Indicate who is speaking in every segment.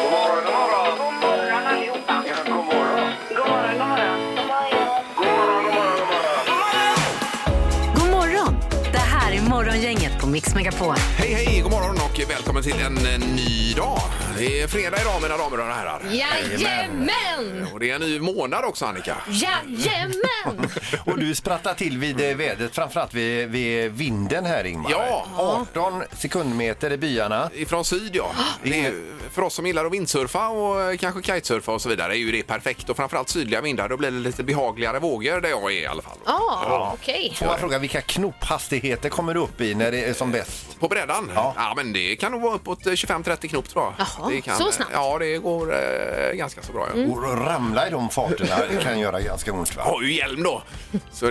Speaker 1: God morgon, god morgon. God morgon allihopa. Ja, god morgon. God morgon, god morgon.
Speaker 2: God
Speaker 1: God morgon, god morgon, god morgon.
Speaker 2: morgon! Det här är Morgongänget på Mix Megapol.
Speaker 3: Hej, hej, god morgon och välkommen till en eh, ny dag. Det är fredag idag mina damer och herrar. Eh,
Speaker 4: Jajamän!
Speaker 3: Och det är en ny månad också Annika.
Speaker 4: Jajamän!
Speaker 5: Och du sprattade till vid eh, vädret, framförallt vid, vid vinden här Ingmar.
Speaker 3: Ja.
Speaker 5: 18 sekundmeter i byarna.
Speaker 3: Ifrån syd ja.
Speaker 4: Ah.
Speaker 3: Det är, ju- för oss som gillar att vindsurfa och eh, kanske kitesurfa och så vidare är ju det perfekt. Och framförallt sydliga vindar, då blir det lite behagligare vågor där jag är i alla fall.
Speaker 4: Ja, okej.
Speaker 5: Får man fråga vilka knophastigheter kommer du upp i när det är som bäst?
Speaker 3: På brädan?
Speaker 5: Ja.
Speaker 3: men det kan nog vara uppåt eh, 25-30 knop tror jag.
Speaker 4: Jaha,
Speaker 3: det kan,
Speaker 4: så snabbt? Mm.
Speaker 3: Ja, det går eh, ganska så bra. Ja.
Speaker 5: Och ramla i de farterna kan göra ganska ont
Speaker 3: Jag
Speaker 5: va?
Speaker 3: har ju hjälm då, så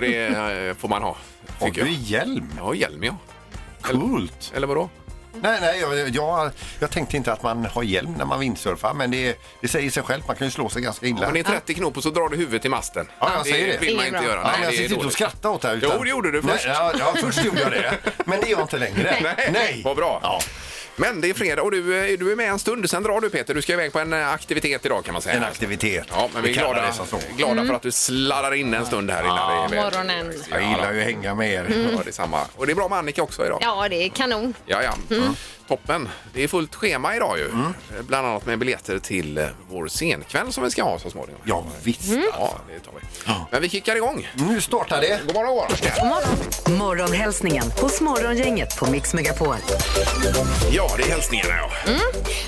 Speaker 3: det eh, får man ha.
Speaker 5: Har
Speaker 3: tycker
Speaker 5: du
Speaker 3: jag.
Speaker 5: hjälm?
Speaker 3: Jag har hjälm ja.
Speaker 5: Coolt!
Speaker 3: Eller vadå?
Speaker 5: Nej, nej, jag, jag, jag tänkte inte att man har hjälm när man vindsurfar men det, det säger sig självt, man kan ju slå sig ganska illa.
Speaker 3: Om det är 30 knop och så drar du huvudet i masten.
Speaker 5: Ja, jag säger det.
Speaker 3: vill man
Speaker 4: Inget
Speaker 3: inte
Speaker 4: bra.
Speaker 3: göra.
Speaker 5: Nej, men jag
Speaker 3: det är
Speaker 5: sitter inte och
Speaker 3: dåligt.
Speaker 5: skrattar åt det här.
Speaker 3: Jo, det gjorde du först.
Speaker 5: Nej, ja, ja, först gjorde jag det. Men det gör jag inte längre.
Speaker 3: Nej, vad bra.
Speaker 5: Ja.
Speaker 3: Men det är fredag och du, eh, du är med en stund, sen drar du Peter. Du ska iväg på en eh, aktivitet idag kan man säga.
Speaker 5: En aktivitet.
Speaker 3: Ja, men vi är
Speaker 5: kallar
Speaker 3: glada,
Speaker 5: det så.
Speaker 3: glada för att du sladdar in en stund här innan det är väl-
Speaker 4: Mm. Morgonen.
Speaker 3: Ja,
Speaker 5: Jag gillar ju att hänga med er.
Speaker 1: Mm.
Speaker 3: då. Ja, det är samma. Och det är bra med Annika också idag.
Speaker 4: Ja, Mm. det är kanon.
Speaker 3: Ja, ja.
Speaker 5: Mm.
Speaker 3: Toppen. Det är fullt schema idag ju. Eh, Bland annat med biljetter till eh, vår scenkväll som vi ska ha så småningom. Mm.
Speaker 5: Ja, visst
Speaker 3: Ja,
Speaker 5: alltså.
Speaker 3: det tar vi. Men vi kickar igång.
Speaker 5: Nu startar det.
Speaker 3: God morgon, god morgon.
Speaker 2: Morgonhälsningen hos Morgongänget på Mix Megapol.
Speaker 3: Ja, det är hälsningarna ja.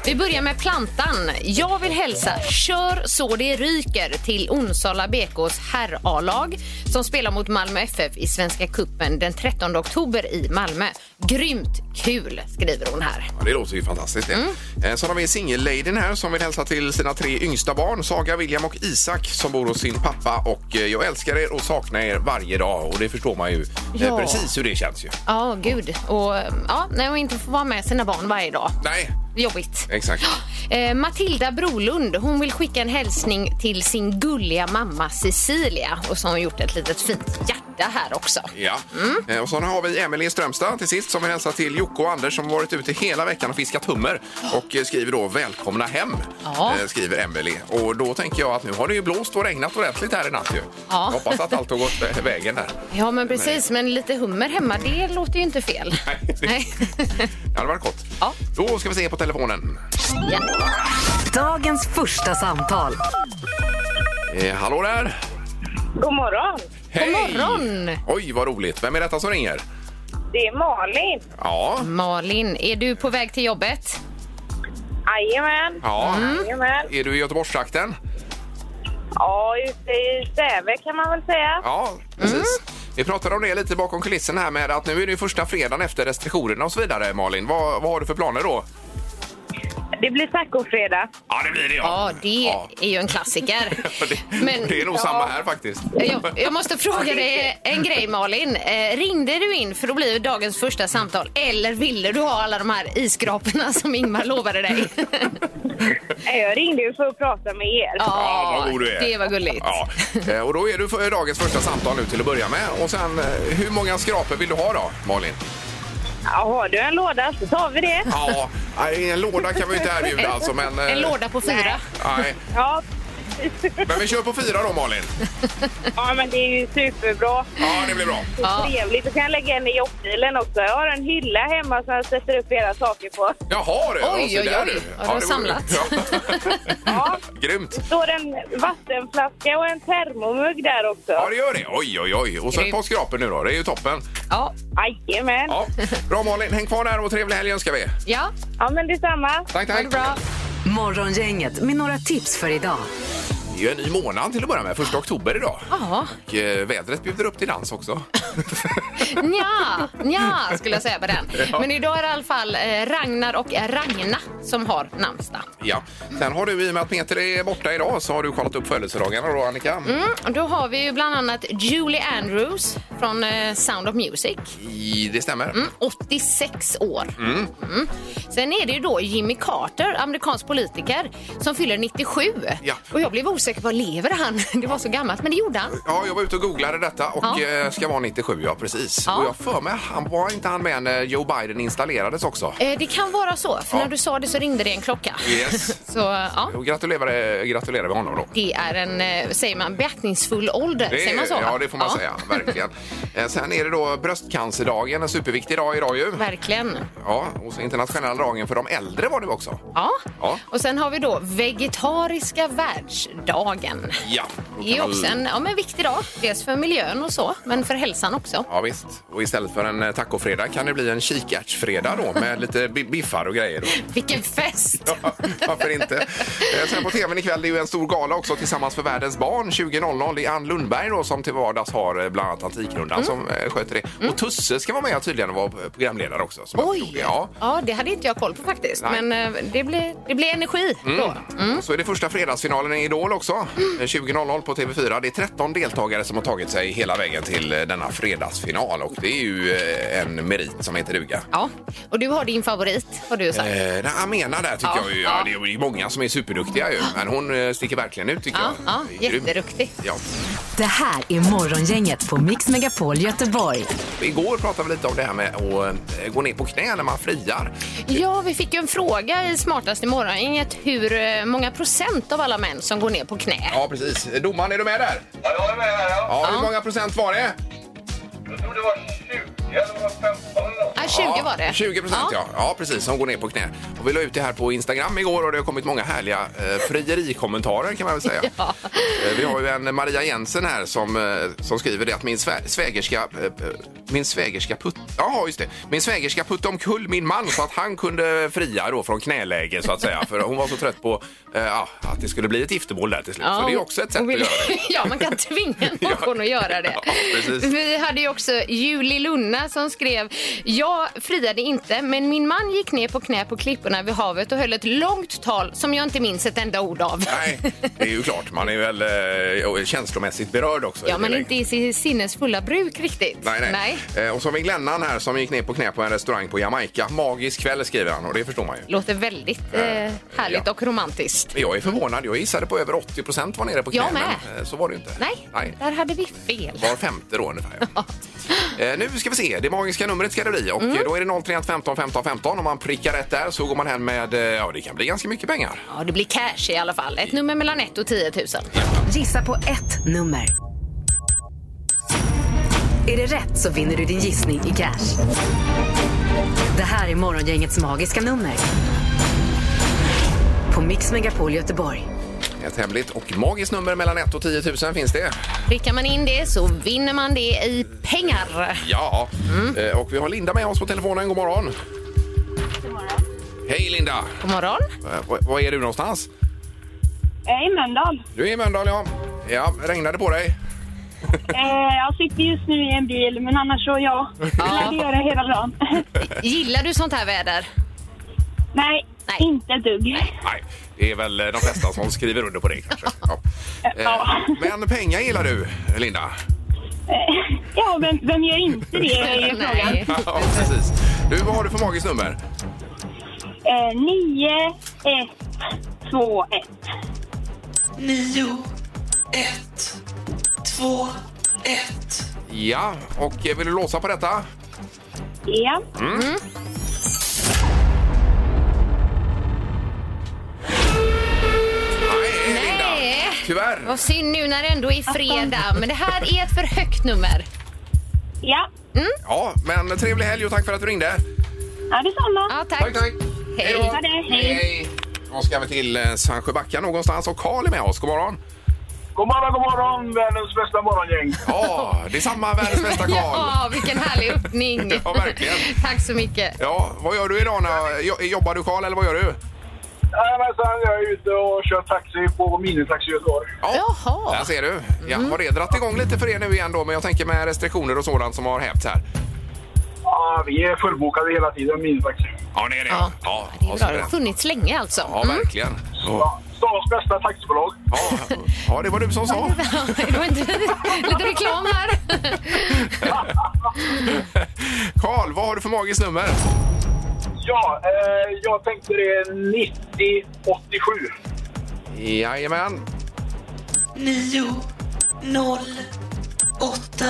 Speaker 4: Vi börjar med plantan. Jag vill hälsa Kör så det ryker till Onsala BKs herr-A-lag som spelar mot Malmö FF i Svenska Kuppen den 13 oktober i Malmö. Grymt kul, skriver hon här.
Speaker 3: Ja, det låter ju fantastiskt. det.
Speaker 4: Mm.
Speaker 3: Eh, Sen har vi singelladyn här som vill hälsa till sina tre yngsta barn, Saga, William och Isak som bor hos sin pappa. Och eh, jag älskar er och saknar er varje dag och det förstår man ju eh,
Speaker 4: Ja. Ah.
Speaker 3: precis hur det känns ju.
Speaker 4: Ja, gud. Och mm, ja, nej, och inte få vara med sina barn varje dag.
Speaker 3: Nej,
Speaker 4: Jobbigt.
Speaker 3: exakt.
Speaker 4: Eh, Matilda Brolund hon vill skicka en hälsning till sin gulliga mamma Cecilia och så har hon gjort ett litet fint hjärta här också.
Speaker 3: Ja.
Speaker 4: Mm.
Speaker 3: Eh, Och så har vi Emelie i Strömstad till sist som vill hälsa till Jocke och Anders som varit ute hela veckan och fiskat hummer och eh, skriver då välkomna hem,
Speaker 4: Ja.
Speaker 3: eh, skriver Emelie. Och då tänker jag att nu har det ju blåst och regnat ordentligt här i natt ju.
Speaker 4: Ja.
Speaker 3: Jag hoppas att allt har gått eh, vägen där.
Speaker 4: Ja, men precis. Men lite hummer hemma, det låter ju inte fel. Nej.
Speaker 3: Det hade varit gott.
Speaker 4: Ja.
Speaker 3: Då ska vi se på telefonen.
Speaker 4: ja.
Speaker 2: Dagens första samtal.
Speaker 3: Eh, hallå där!
Speaker 6: God morgon.
Speaker 3: Hej!
Speaker 4: morgon!
Speaker 3: Oj, vad roligt. Vem är detta som ringer?
Speaker 6: Det är Malin.
Speaker 3: Ja,
Speaker 4: Malin, är du på väg till jobbet?
Speaker 6: Jajamän.
Speaker 3: ja.
Speaker 6: Jajamän.
Speaker 3: Är du i Göteborgstrakten?
Speaker 6: Ja, ute i Säve kan man väl säga.
Speaker 3: Ja, precis. Vi pratade om det lite bakom kulissen här med att nu är det ju första fredagen efter restriktionerna och så vidare, Malin. Vad, vad har du för planer då?
Speaker 6: Det blir tacofredag.
Speaker 3: Ja, det blir det
Speaker 4: Ja, det
Speaker 3: Ja.
Speaker 4: är ju en klassiker.
Speaker 3: Det,
Speaker 4: Men-
Speaker 3: det är nog
Speaker 6: Ja.
Speaker 3: samma här faktiskt.
Speaker 4: Eh, Jag, jag måste fråga dig en grej, Malin. Eh, ringde du in för att bli dagens första samtal eller ville du ha alla de här iskraporna som Ingmar lovade dig?
Speaker 6: Jag ringde ju för att prata med er.
Speaker 3: Ja, vad god du är.
Speaker 4: Det var gulligt.
Speaker 3: Ja. Eh, Och då är du för dagens första samtal nu till att börja med. Och sen, eh, hur många skrapor vill du ha då, Malin?
Speaker 6: Ja, har du en låda så tar vi det.
Speaker 3: Ja, nej, en låda kan vi ju inte erbjuda alltså, men... eh,
Speaker 4: En låda på fyra.
Speaker 3: Nej,
Speaker 6: Ja,
Speaker 3: men vi kör på fyra då, Malin.
Speaker 6: ja men det är ju superbra.
Speaker 3: Ja, det blir bra.
Speaker 6: Så
Speaker 4: Ja.
Speaker 6: trevligt. Du kan jag lägga en i jobbbilen också. Jag har en hylla hemma som jag sätter upp era saker på.
Speaker 3: Jaha du!
Speaker 4: Oj,
Speaker 3: ja, se
Speaker 4: oj,
Speaker 3: där
Speaker 4: oj.
Speaker 3: du.
Speaker 4: Ja, du har
Speaker 3: det var-
Speaker 4: samlat.
Speaker 3: Ja.
Speaker 6: Ja.
Speaker 3: Grymt!
Speaker 6: Det står en vattenflaska och en termomugg där
Speaker 3: Ja,
Speaker 6: också.
Speaker 3: det gör det. Oj, oj, oj. Och så ett
Speaker 4: Grymt.
Speaker 3: par skrapor nu då. Det är ju toppen.
Speaker 4: Ja.
Speaker 6: Jajamän.
Speaker 3: Ja. Bra Malin, häng kvar där och trevlig helg önskar vi.
Speaker 4: ja.
Speaker 6: Ja, men detsamma.
Speaker 3: Tack, tack.
Speaker 4: Bra.
Speaker 2: Morgongänget med några tips för idag.
Speaker 3: Det är ju en ny månad till att börja med, första oktober idag.
Speaker 4: Ja,
Speaker 3: Och eh, vädret bjuder upp till dans också.
Speaker 4: nja, nja skulle jag säga på den. Men idag är det i alla fall eh, Ragnar och Ragna som har namnsdag.
Speaker 3: ja. Sen har du, i och med att Peter är borta idag, så har du kollat upp födelsedagarna då Annika.
Speaker 4: Mm, och då har vi ju bland annat Julie Andrews från eh, Sound of Music.
Speaker 3: I, det stämmer.
Speaker 4: Mm, 86 år. Mm. Sen är det ju då Jimmy Carter, amerikansk politiker, som fyller 97.
Speaker 3: Ja.
Speaker 4: Och jag blev osäker på, lever han? Det var så gammalt, men det gjorde han.
Speaker 3: Ja, jag var ute och googlade detta och
Speaker 4: Ja.
Speaker 3: eh, ska vara 97, ja precis.
Speaker 4: Ja.
Speaker 3: Och jag för mig, han var inte han med när Joe Biden installerades också?
Speaker 4: Eh, Det kan vara så, för
Speaker 3: Ja.
Speaker 4: när du sa det så ringde det en klocka.
Speaker 3: Yes.
Speaker 4: Så ja,
Speaker 3: Och gratulerar, eh, gratulerar vi honom då.
Speaker 4: det är en, eh, säger man, beaktningsfull ålder.
Speaker 3: Det,
Speaker 4: Eh, säger man så?
Speaker 3: Ja,
Speaker 4: va?
Speaker 3: det får man säga. Verkligen. Eh, Sen är det då bröstcancerdagen, en superviktig dag idag ju.
Speaker 4: Verkligen.
Speaker 3: Ja, och så internationella dagen för de äldre var det också.
Speaker 4: Ja.
Speaker 3: Ja.
Speaker 4: Och sen har vi då vegetariska världsdagen.
Speaker 3: Ja. då kan
Speaker 4: Det är
Speaker 3: man-
Speaker 4: också en ja, men viktig dag, dels för miljön och så, men för hälsan också.
Speaker 3: Ja, visst. Och istället för en eh, tacofredag kan det bli en kikärtsfredag då med lite bi- biffar och grejer. Då.
Speaker 4: Vilken fest!
Speaker 3: Ja, varför inte? Eh, Sen på tvn ikväll det är ju en stor gala också tillsammans för världens barn 20.00. Det är Ann Lundberg då, som till vardags har eh, bland annat Antikrundan
Speaker 4: Mm.
Speaker 3: som eh, sköter det. Och Tusse ska vara med och tydligen och vara eh, programledare också. som jag förstod
Speaker 4: Oj!
Speaker 3: det. Ja.
Speaker 4: Ja, det hade inte jag koll på faktiskt.
Speaker 3: Nej. Mm.
Speaker 4: Men eh, det blir, det blir energi då. Mm.
Speaker 3: Så är det första fredagsfinalen i Idol också. Eh, 20.00 på TV4. Det är 13 deltagare som har tagit sig hela vägen till eh, denna fredagsfinal och det är ju eh, en merit som heter duga.
Speaker 4: Ja. Och du har din favorit, har du sagt.
Speaker 3: Eh, nej, Amena där tycker
Speaker 4: Ja,
Speaker 3: jag ju.
Speaker 4: ja.
Speaker 3: Ja, det är ju många som är superduktiga ju. Men hon eh, sticker verkligen ut tycker
Speaker 4: Ja,
Speaker 3: jag.
Speaker 4: ja,
Speaker 3: Det är grymt.
Speaker 4: jätteduktig.
Speaker 3: Ja.
Speaker 2: Det här är Morgongänget på Mix Megapol Göteborg.
Speaker 3: Igår pratade vi lite om det här med att eh, gå ner på knä när man friar.
Speaker 4: Ja, vi fick ju en fråga i Smartast i morgongänget hur eh, många procent av alla män som går ner på knä.
Speaker 3: Ja, precis. Domaren, är du med där?
Speaker 1: Ja, jag är med här. Ja.
Speaker 3: Ja, hur många procent var det?
Speaker 1: Jag tror det var 20 eller var 15 eller något.
Speaker 4: Ah, 20 var det.
Speaker 3: 20 procent, ja. ja. precis. Som går ner på knä. Och vi la ut det här på Instagram igår och det har kommit många härliga eh, frieri-kommentarer kan man väl säga.
Speaker 4: Ja.
Speaker 3: Eh, Vi har ju en Maria Jensen här som, eh, som skriver det att min svä- svägerska... eh, eh, Min svägerska putt... Ja, just det. Min svägerska putte omkull min man så att han kunde fria då från knäläge så att säga. För hon var så trött på eh, ja, att det skulle bli ett giftermål där till slut. Så det är ju också ett sätt
Speaker 4: hon
Speaker 3: att
Speaker 4: vill-
Speaker 3: göra det.
Speaker 4: ja, man kan tvinga någon att göra det.
Speaker 3: Ja, precis.
Speaker 4: Vi hade ju också Julie Lunna som skrev Jag friade inte, men min man gick ner på knä på klipporna vid havet och höll ett långt tal som jag inte minns ett enda ord av.
Speaker 3: Nej, det är ju klart. Man är väl eh, känslomässigt berörd också.
Speaker 4: Ja,
Speaker 3: i
Speaker 4: men
Speaker 3: det
Speaker 4: inte i sin sinnesfulla bruk riktigt.
Speaker 3: Nej, nej. Eh, och så har vi Glennan här som gick ner på knä på en restaurang på Jamaica. Magisk kväll skriver han och det förstår man ju.
Speaker 4: Låter väldigt eh, härligt
Speaker 3: ja.
Speaker 4: och romantiskt.
Speaker 3: Men Jag är förvånad. Jag gissade på över 80 procent var nere på knä.
Speaker 4: Jag med.
Speaker 3: Men, eh, så var det ju inte.
Speaker 4: Nej,
Speaker 3: Nej.
Speaker 4: där hade vi fel.
Speaker 3: Var femte då ungefär. ja. Eh, nu ska vi se. Det magiska numret ska det bli. Och
Speaker 4: Mm.
Speaker 3: eh, Då är det 031 15 15 15. Om man prickar rätt där så går man hem med... eh, Ja, det kan bli ganska mycket pengar.
Speaker 4: Ja, det blir cash i alla fall. Ett nummer mellan 1 och 10 000.
Speaker 2: Gissa på ett nummer. Är det rätt så vinner du din gissning i cash. Det här är Morgongängets magiska nummer. På Mix Megapol Göteborg.
Speaker 3: Ett hemligt och magiskt nummer mellan 1 och 10 000 finns det.
Speaker 4: Prickar man in det så vinner man det i pengar.
Speaker 3: Ja.
Speaker 4: Mm.
Speaker 3: Eh, och vi har Linda med oss på telefonen. God morgon.
Speaker 6: Eh,
Speaker 3: Hej Linda!
Speaker 4: God morgon.
Speaker 3: Eh, var- Var är du någonstans?
Speaker 6: Eh, I Mölndal.
Speaker 3: Du är i Mölndal, ja. Ja, regnar det på dig?
Speaker 6: Eh, jag sitter just nu i en bil, men annars så ja. Det lär det göra hela dagen.
Speaker 4: Gillar du sånt här väder?
Speaker 6: Nej,
Speaker 4: Nej.
Speaker 6: inte ett dugg.
Speaker 3: Nej, det är väl eh, de flesta som skriver under på det kanske. Ja.
Speaker 6: Ja.
Speaker 3: Eh, Men pengar gillar du, Linda?
Speaker 6: Eh, ja, vem, vem gör inte det är ju frågan.
Speaker 4: Nej.
Speaker 3: Ja, precis. Du, vad har du för magiskt nummer?
Speaker 6: Eh, 9, 1, 2, 1.
Speaker 3: Ja, och eh, vill du låsa på detta?
Speaker 6: Ja.
Speaker 3: Nej, Linda.
Speaker 4: Nej.
Speaker 3: Tyvärr.
Speaker 4: Vad synd nu när det ändå är fredag. Men det här är ett för högt nummer.
Speaker 6: Ja,
Speaker 3: Ja, men trevlig helg och tack för att du ringde.
Speaker 6: ja detsamma.
Speaker 4: Ja, tack.
Speaker 3: Tack, tack.
Speaker 4: Hej.
Speaker 3: då.
Speaker 6: Ha det, hej.
Speaker 3: Hej. Då ska vi till eh, Sandsjöbacka någonstans och Karl är med oss. God morgon.
Speaker 1: God morgon, god morgon, världens bästa morgongäng.
Speaker 3: Ja, det är samma världens bästa Karl.
Speaker 4: Ja, vilken härlig öppning.
Speaker 3: Ja, verkligen.
Speaker 4: Tack så mycket.
Speaker 3: Ja, vad gör du idag? När, jo- jobbar du Karl eller vad gör du?
Speaker 1: Jajamensan, jag är ute och kör taxi på Minitaxi Göteborg.
Speaker 3: Ja,
Speaker 4: Jaha. Mm.
Speaker 3: där ser du. Ja, har det dragit igång lite för er nu igen då? Men jag tänker med restriktioner och sådant som har hävts här.
Speaker 1: Ja, vi är fullbokade hela tiden, Minitaxi.
Speaker 3: Ja, det är det.
Speaker 4: Ja.
Speaker 3: ja,
Speaker 4: Det är
Speaker 3: och så
Speaker 4: bra. Det har funnits länge alltså.
Speaker 3: Ja,
Speaker 4: Mm.
Speaker 3: verkligen. Ja.
Speaker 1: Ja, Stans bästa taxibolag.
Speaker 3: Ja, ja, det var du som sa.
Speaker 4: Mm. Det var inte lite reklam här.
Speaker 3: Karl, vad har du för magiskt nummer?
Speaker 1: Ja, eh, jag tänkte det är 9087.
Speaker 3: Jajamän.
Speaker 7: 9 0 8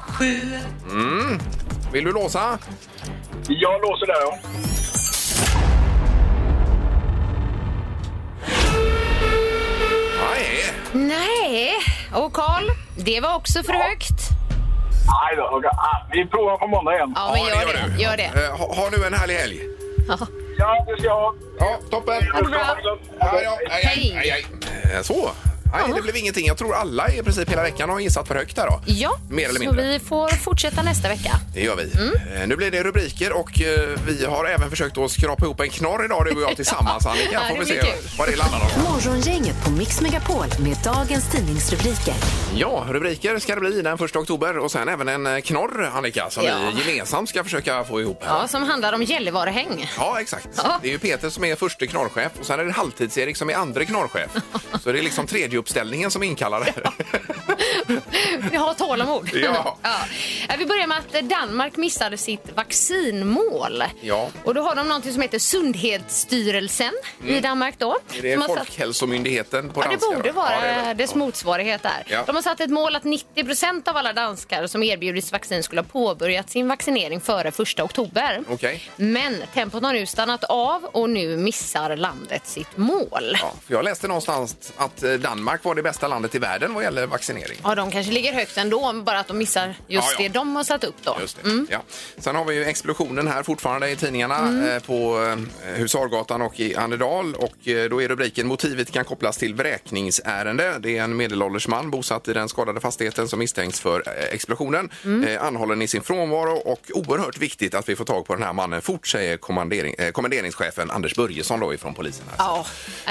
Speaker 7: 7
Speaker 3: Mm. Vill du låsa?
Speaker 1: Jag låser där, ja.
Speaker 3: Nej.
Speaker 4: Nej. Och Karl, det var också för högt.
Speaker 1: Nej då, okej. Ah, vi provar på måndag igen.
Speaker 4: Ja, men gör det.
Speaker 3: du.
Speaker 4: Gör det.
Speaker 3: Eh, Ha, ha nu en härlig helg.
Speaker 1: Ja, det ska jag ha.
Speaker 3: Ja, toppen.
Speaker 4: Ha det bra.
Speaker 3: Ja, ja, aj, aj,
Speaker 4: Hej.
Speaker 3: aj, aj. Eh, Så. Nej, det blev ingenting. Jag tror alla i princip hela veckan har gissat för högt där då.
Speaker 4: Ja,
Speaker 3: Mer eller
Speaker 4: så
Speaker 3: mindre.
Speaker 4: vi får fortsätta nästa vecka.
Speaker 3: Det gör vi.
Speaker 4: Mm.
Speaker 3: Eh, Nu blir det rubriker och eh, vi har även försökt att skrapa ihop en knorr idag du och jag tillsammans Annika.
Speaker 4: Ja, det
Speaker 3: Får vi
Speaker 4: blir
Speaker 3: se
Speaker 4: kul.
Speaker 3: vad det landar om.
Speaker 2: Morgongänget på Mix Megapol med dagens tidningsrubriker.
Speaker 3: Ja, rubriker ska det bli den 1 oktober och sen även en eh, knorr Annika som
Speaker 4: Ja.
Speaker 3: vi gemensamt ska försöka få ihop här.
Speaker 4: Ja, som handlar om Gällivarehäng.
Speaker 3: Ja, exakt.
Speaker 4: Ja.
Speaker 3: Det är ju Peter som är första knorrchef och sen är det halvtids-Erik som är andra knorrchef. Så det är liksom tredje uppställningen som inkallar det.
Speaker 4: Vi har tålamod.
Speaker 3: Ja.
Speaker 4: Ja. Vi börjar med att Danmark missade sitt vaccinmål.
Speaker 3: Ja.
Speaker 4: Och då har de någonting som heter Sundhetsstyrelsen i Danmark. Då,
Speaker 3: Mm. Är det
Speaker 4: som har satt-
Speaker 3: Folkhälsomyndigheten på
Speaker 4: Ja, det
Speaker 3: danska?
Speaker 4: borde
Speaker 3: då?
Speaker 4: vara
Speaker 3: Ja, det är det.
Speaker 4: dess motsvarighet där.
Speaker 3: Ja.
Speaker 4: De har satt ett mål att 90 av alla danskar som erbjudits vaccin skulle ha påbörjat sin vaccinering före 1 oktober.
Speaker 3: Okej.
Speaker 4: Men tempot har nu stannat av och nu missar landet sitt mål. Ja.
Speaker 3: Ja, för jag läste någonstans att eh, Danmark var det bästa landet i världen vad gäller vaccinering.
Speaker 4: de kanske ligger högt ändå, bara att de missar just
Speaker 3: Ja, ja.
Speaker 4: det de har satt upp då. Mm.
Speaker 3: Just det. Ja. Sen har vi ju explosionen här fortfarande i tidningarna eh, på eh, Husargatan och i Annedal. Och eh, då är rubriken Motivet kan kopplas till vräkningsärende. Det är en medelålders man bosatt i den skadade fastigheten som misstänks för eh, explosionen. Eh, anhållen i sin frånvaro och oerhört viktigt att vi får tag på den här mannen fort säger kommendering, eh, kommenderingschefen Anders Börjesson då ifrån polisen. Här.
Speaker 4: Ja,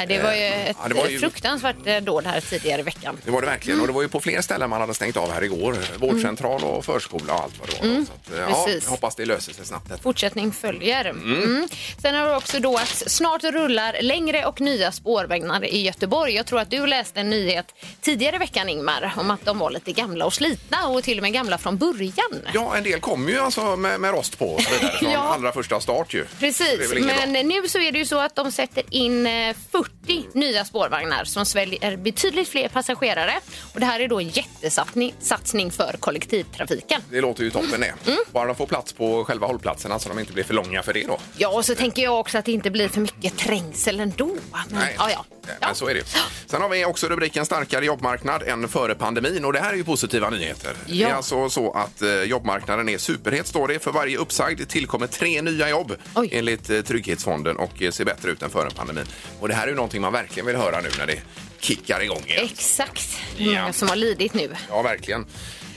Speaker 4: det var ju ett
Speaker 3: Eh, ja, det var ju-
Speaker 4: fruktansvärt eh, dåd här tidigare i veckan.
Speaker 3: Det var det verkligen.
Speaker 4: Mm.
Speaker 3: Och det var ju på fler ställen man hade stängt av här igår. Vårdcentral och förskola och allt vad det var. Så att, eh, ja,
Speaker 4: Mm. precis.
Speaker 3: jag hoppas det löser sig snabbt. detta.
Speaker 4: Fortsättning följer. Mm. Sen har vi också då att snart rullar längre och nya spårvagnar i Göteborg. Jag tror att du läste en nyhet tidigare i veckan, Ingmar, om att de var lite gamla och slitna och till och med gamla från början.
Speaker 3: Ja, en del kom ju alltså med, med rost på och så vidare från
Speaker 4: Ja.
Speaker 3: allra första start ju. Så det är
Speaker 4: Precis,
Speaker 3: väl inget
Speaker 4: men nu så är det ju så att de sätter in eh, 40 nya spårvagnar som sväljer betydligt fler passagerare. Och det här är då en jättesatsning satsning för kollektivtrafiken.
Speaker 3: Det låter ju toppen det.
Speaker 4: Mm.
Speaker 3: Bara de får plats på själva hållplatserna så de inte blir för långa för det då.
Speaker 4: Ja, och så tänker jag också att det inte blir för mycket trängsel ändå. Men, Mm. ja, ja.
Speaker 3: Nej,
Speaker 4: Ja.
Speaker 3: Men så är det. Sen har vi också rubriken starkare jobbmarknad än före pandemin och det här är ju positiva nyheter.
Speaker 4: Ja.
Speaker 3: Det är alltså så att eh, jobbmarknaden är superhet står det. För varje uppsagd tillkommer tre nya jobb
Speaker 4: Oj.
Speaker 3: enligt eh, Trygghetsfonden och eh, ser bättre ut än före pandemin. Och det här är ju någonting man verkligen vill höra nu när det kickar igång igen.
Speaker 4: Exakt hur
Speaker 3: Ja.
Speaker 4: många som har lidit nu.
Speaker 3: Ja, verkligen.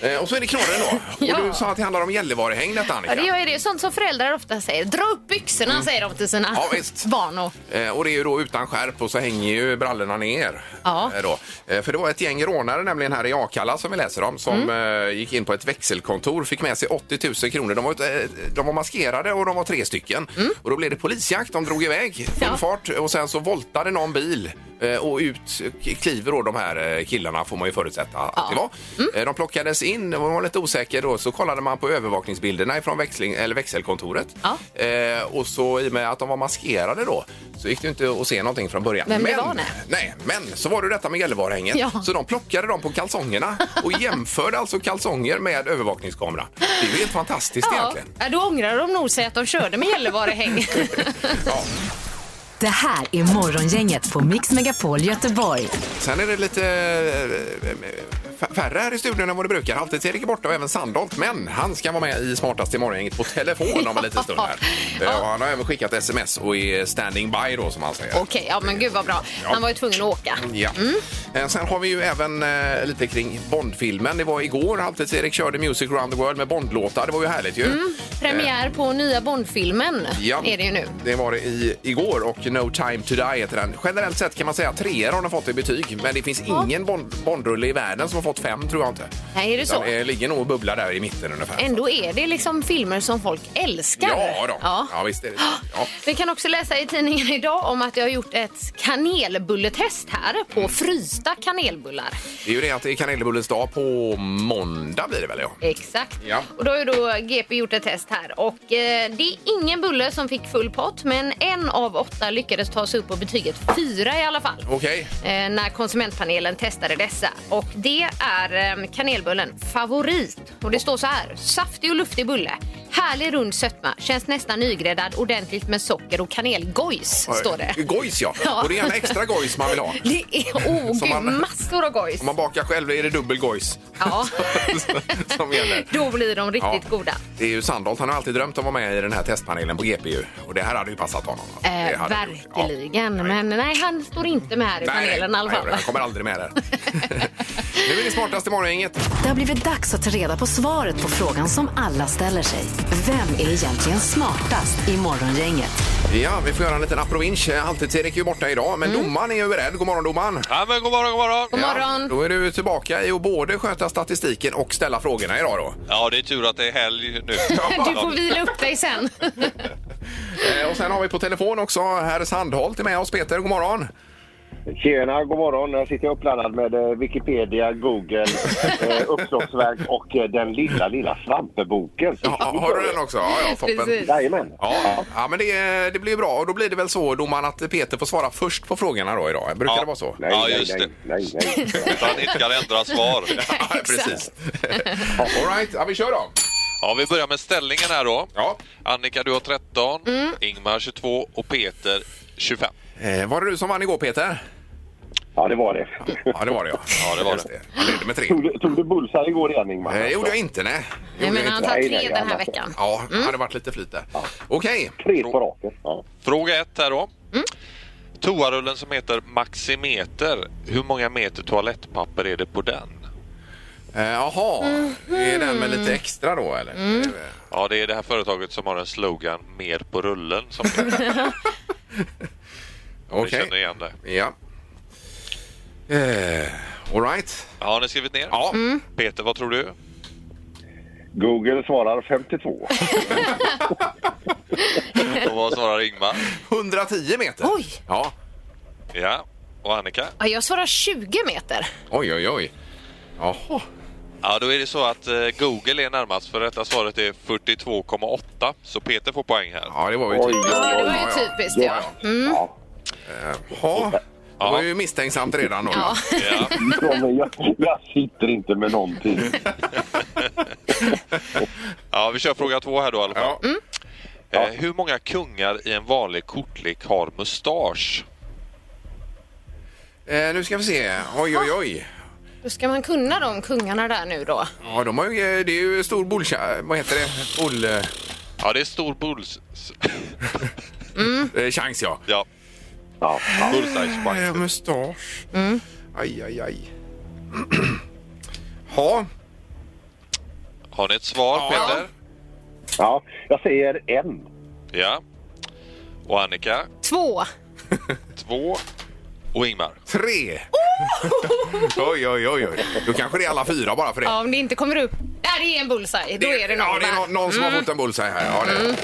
Speaker 3: Eh, och så är det knorren då.
Speaker 4: Ja.
Speaker 3: Och du sa att det handlar om Gällivarehäng detta Annika.
Speaker 4: Ja, det gör ju det. Sånt som föräldrar ofta säger. Dra upp byxorna, säger de till sina
Speaker 3: Mm. Ja, visst.
Speaker 4: barn. Och...
Speaker 3: Eh, Och det är ju då utan skärp och så hänger ju brallorna ner.
Speaker 4: Ja.
Speaker 3: Eh, Då. Eh, För det var ett gäng rånare nämligen här i Akalla som vi läser om som
Speaker 4: Mm.
Speaker 3: eh, gick in på ett växelkontor, fick med sig 80 000 kronor. De var, ett, eh, de var maskerade och de var tre stycken. Och då blev det polisjakt, de drog iväg full
Speaker 4: Mm. Ja.
Speaker 3: fart och sen så voltade någon bil eh, och ut kliver då de här eh, killarna får man ju förutsätta att det var.
Speaker 4: Mm.
Speaker 3: Eh, De plockades in, och man var lite osäker då, så kollade man på övervakningsbilderna från växling, eller växelkontoret.
Speaker 4: Ja.
Speaker 3: Eh, och så i och med att de var maskerade då så gick det ju inte att se någonting från början.
Speaker 4: Vem det
Speaker 3: men,
Speaker 4: var, nej.
Speaker 3: nej, men så var det detta med Gällivarehängen.
Speaker 4: Ja.
Speaker 3: Så de plockade dem på kalsongerna och jämförde alltså kalsonger med övervakningskamera. Det är ju helt fantastiskt
Speaker 4: Ja,
Speaker 3: egentligen.
Speaker 4: ja, då ångrar de nog sig att de körde med Gällivarehäng.
Speaker 3: Ja.
Speaker 2: Det här är Morgongänget på Mix Megapol Göteborg.
Speaker 3: Sen är det lite eh, eh, F- Färre här i studion än vad det brukar. Halvtids-Erik är borta och även Sandholt. Men han ska vara med i Smartast i morgon på telefon om en liten stund. Här.
Speaker 4: Ja.
Speaker 3: Eh, Och han har även skickat sms och är standing by då som han säger.
Speaker 4: Okej, ja men gud vad bra.
Speaker 3: Ja.
Speaker 4: Han var ju tvungen att åka.
Speaker 3: Ja. Eh, Sen har vi ju även eh, lite kring Bondfilmen. Det var igår Halvtids-Erik körde Music around the world med Bondlåtar. Det var ju härligt ju.
Speaker 4: Mm.
Speaker 3: Eh,
Speaker 4: Premiär på nya Bondfilmen
Speaker 3: Ja,
Speaker 4: är det ju nu.
Speaker 3: Det var det i, igår och No time to die heter den. Generellt sett kan man säga att treor har den fått i betyg men det finns ingen bond, Bondrulle i världen som har fått fem tror jag inte.
Speaker 4: Nej, är det så?
Speaker 3: Den eh, ligger nog och bubblar där i mitten ungefär.
Speaker 4: Ändå är det liksom filmer som folk älskar.
Speaker 3: Ja, då.
Speaker 4: Ja.
Speaker 3: ja. visst är det så. ja.
Speaker 4: Vi kan också läsa i tidningen idag om att jag har gjort ett kanelbulletest här på
Speaker 3: Mm.
Speaker 4: frysta kanelbullar.
Speaker 3: Det är ju det att det är kanelbullens dag på måndag blir det väl? Ja.
Speaker 4: Exakt.
Speaker 3: Ja.
Speaker 4: Och då har ju då GP gjort ett test här och eh, det är ingen bulle som fick full pott men en av åtta lyckades ta sig upp på betyget fyra i alla fall.
Speaker 3: Okej.
Speaker 4: Eh, när konsumentpanelen testade dessa. Och det är eh, kanelbullen favorit. Och det står så här. Saftig och luftig bulle. Härlig rund sötma. Känns nästan nygräddad. Ordentligt med socker och kanelgojs. Står det.
Speaker 3: Gojs ja.
Speaker 4: Ja.
Speaker 3: Och det är gärna extra gojs man vill ha.
Speaker 4: Det är, oh,
Speaker 3: Som
Speaker 4: gud,
Speaker 3: man-
Speaker 4: massor av gojs.
Speaker 3: Om man bakar själv är det dubbel gojs
Speaker 4: Ja.
Speaker 3: som gäller.
Speaker 4: Då blir de riktigt
Speaker 3: Ja.
Speaker 4: goda.
Speaker 3: Det är ju Sandholt, han har alltid drömt om att vara med i den här testpanelen på GP ju. Och det här hade ju passat honom. Det
Speaker 4: Eh,
Speaker 3: hade det gjort. Ja.
Speaker 4: verkligen. Men nej, han står inte med här i panelen i alla fall.
Speaker 3: nej, jag kommer aldrig med där. nu är det smartaste morgongänget.
Speaker 2: Det har blivit dags att ta reda på svaret på frågan som alla ställer sig. Vem är egentligen smartast i morgongänget?
Speaker 3: Ja, vi får göra en liten aprovinch. Halvtids-Erik är ju borta idag, men domaren är ju beredd. God morgon domaren!
Speaker 1: Ja, men god morgon, god morgon.
Speaker 4: God
Speaker 3: Ja,
Speaker 4: Mm. morgon.
Speaker 3: då är du tillbaka i att både sköta statistiken och ställa frågorna idag då.
Speaker 1: Ja, det är tur att det är helg nu.
Speaker 4: Du får vila upp dig sen.
Speaker 3: Eh, och sen har vi på telefon också herr Sandholt är med oss. Peter, god morgon!
Speaker 1: Tjena, god morgon. Jag sitter uppladdad med eh, Wikipedia, Google, eh, uppslagsverk och eh, den lilla, lilla svampeboken.
Speaker 3: Ja, har du den också? Ja, ja toppen.
Speaker 4: Precis.
Speaker 1: Jajamän.
Speaker 3: Ja, ja men det, det blir bra. Och då blir det väl så, domaren, att Peter får svara först på frågorna då idag. Brukar det vara så?
Speaker 1: Nej, ja, just nej, nej, nej, nej.
Speaker 7: Utan inte kan ändra svar.
Speaker 3: Ja,
Speaker 4: Exakt.
Speaker 3: precis. All right, ja, vi kör då.
Speaker 7: Ja, vi börjar med ställningen här då.
Speaker 3: Ja.
Speaker 7: Annika, du har 13, Ingmar 22 och Peter 25.
Speaker 3: Eh, var det du som vann igår, Peter?
Speaker 1: Ja, det var det.
Speaker 3: Ja, det var det, ja. ja
Speaker 7: det var
Speaker 3: Just
Speaker 7: det.
Speaker 3: Han ledde med tre.
Speaker 1: Tog du, tog du bullsar igår igen, Ingmar?
Speaker 3: Det gjorde jag inte, nej.
Speaker 4: Jag
Speaker 3: Det gjorde jag
Speaker 4: menar, han
Speaker 3: inte.
Speaker 4: tar
Speaker 1: Nej,
Speaker 4: tre
Speaker 1: nej,
Speaker 4: den här
Speaker 1: nej.
Speaker 4: veckan.
Speaker 3: Ja, det hade varit lite flyt där. Okej.
Speaker 1: Tre på raken. Ja.
Speaker 7: Fråga 1 här då. Toarullen som heter Maximeter, hur många meter toalettpapper är det på den?
Speaker 3: Eh, Jaha, är den med lite extra då eller?
Speaker 4: Mm.
Speaker 7: Ja, det är det här företaget som har en slogan Mer på rullen som vi
Speaker 3: Okej.
Speaker 7: känner igen det.
Speaker 3: Ja. Eh, all right.
Speaker 7: Ja, har ni skrivit ner?
Speaker 3: Ja.
Speaker 7: Peter, vad tror du?
Speaker 1: Google svarar 52.
Speaker 7: Och vad svarar Ingmar?
Speaker 3: 110 meter.
Speaker 4: Oj.
Speaker 3: Ja.
Speaker 7: Ja. Och Annika?
Speaker 4: Ja, jag svarar 20 meter.
Speaker 3: Oj, oj, oj. Jaha.
Speaker 7: Ja, då är det så att eh, Google är närmast för rätta svaret är 42,8 så Peter får poäng här.
Speaker 3: Ja, det var ju typ-
Speaker 1: Oj,
Speaker 3: typiskt.
Speaker 1: oj,
Speaker 4: Ja, det var
Speaker 3: Ja,
Speaker 4: ju
Speaker 3: ja.
Speaker 4: typiskt. Ja.
Speaker 1: Ja.
Speaker 3: Jaha. Det var ju misstänksamt redan då.
Speaker 4: Ja.
Speaker 7: Ja.
Speaker 1: Ja, men jag, jag sitter inte med någonting.
Speaker 7: ja, vi kör fråga två här då i alla fall.
Speaker 3: Ja.
Speaker 7: Eh, hur många kungar i en vanlig kortlek har mustasch?
Speaker 3: Eh, nu ska vi se. Oj, oj, oj.
Speaker 4: Då ska man kunna de kungarna där nu då.
Speaker 3: Ja, de har ju, eh, det är ju stor bullcha... Vad heter det? Bull...
Speaker 7: Ja, det är stor bulls...
Speaker 3: Eh, chans, ja.
Speaker 7: Ja,
Speaker 1: Ja, Mm. ja.
Speaker 3: Eh,
Speaker 7: bullseye
Speaker 3: mustasch.
Speaker 4: Mm.
Speaker 3: Aj, aj, aj. Ja.
Speaker 7: Har ni ett svar Peter?
Speaker 1: ja, jag säger en.
Speaker 7: Ja. Och Annika?
Speaker 4: Två.
Speaker 7: Två. Och Ingmar?
Speaker 3: Tre.
Speaker 4: Oh!
Speaker 3: oj, oj, oj, oj. Då kanske det är alla fyra bara för det.
Speaker 4: Ja, om det inte kommer upp. Där det är en bullseye. Då är det någon Mm.
Speaker 3: Ja, det är
Speaker 4: där.
Speaker 3: någon, någon som har fått en bullseye här. Ja, det är. det.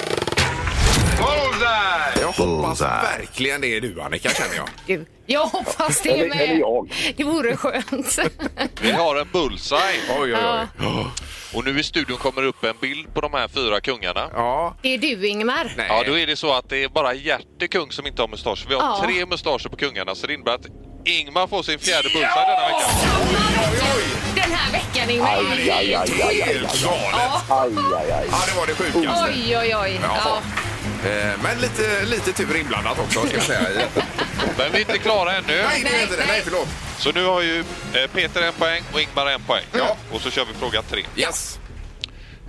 Speaker 3: Bullseye! Jag hoppas
Speaker 8: Bullseye.
Speaker 3: verkligen det är du, Annika, känner jag.
Speaker 4: Gud, Jag hoppas det är
Speaker 1: Eller, eller
Speaker 4: med.
Speaker 1: jag.
Speaker 4: Det vore skönt.
Speaker 7: Vi har en bullseye
Speaker 3: Oj, oj, oj.
Speaker 7: och nu i studion kommer upp en bild på de här fyra kungarna.
Speaker 3: Ja.
Speaker 4: Det är du Ingmar.
Speaker 3: Nej.
Speaker 7: Ja, då är det så att det är bara Hjärte kung som inte har mustasch. Vi har
Speaker 4: Ja.
Speaker 7: tre mustascher på kungarna, så det innebär att Ingmar får sin fjärde bullseye denna vecka.
Speaker 4: Den här veckan Ingmar.
Speaker 1: Aj, aj, aj, aj, aj.
Speaker 3: Helt galet!
Speaker 1: Aj, aj, aj.
Speaker 3: Ja, det var det sjukaste.
Speaker 4: Oj, oj, oj. Ja.
Speaker 3: Ja. Eh, Men lite, lite tur inblandat också, ska jag säga.
Speaker 7: Men vi är inte klara ännu.
Speaker 3: Nej, det är
Speaker 4: Nej,
Speaker 3: inte det.
Speaker 4: nej.
Speaker 3: Nej, förlåt.
Speaker 7: Så nu har ju eh, Peter en poäng och Ingmar en poäng.
Speaker 3: Ja.
Speaker 7: Och så kör vi fråga tre.
Speaker 3: Yes!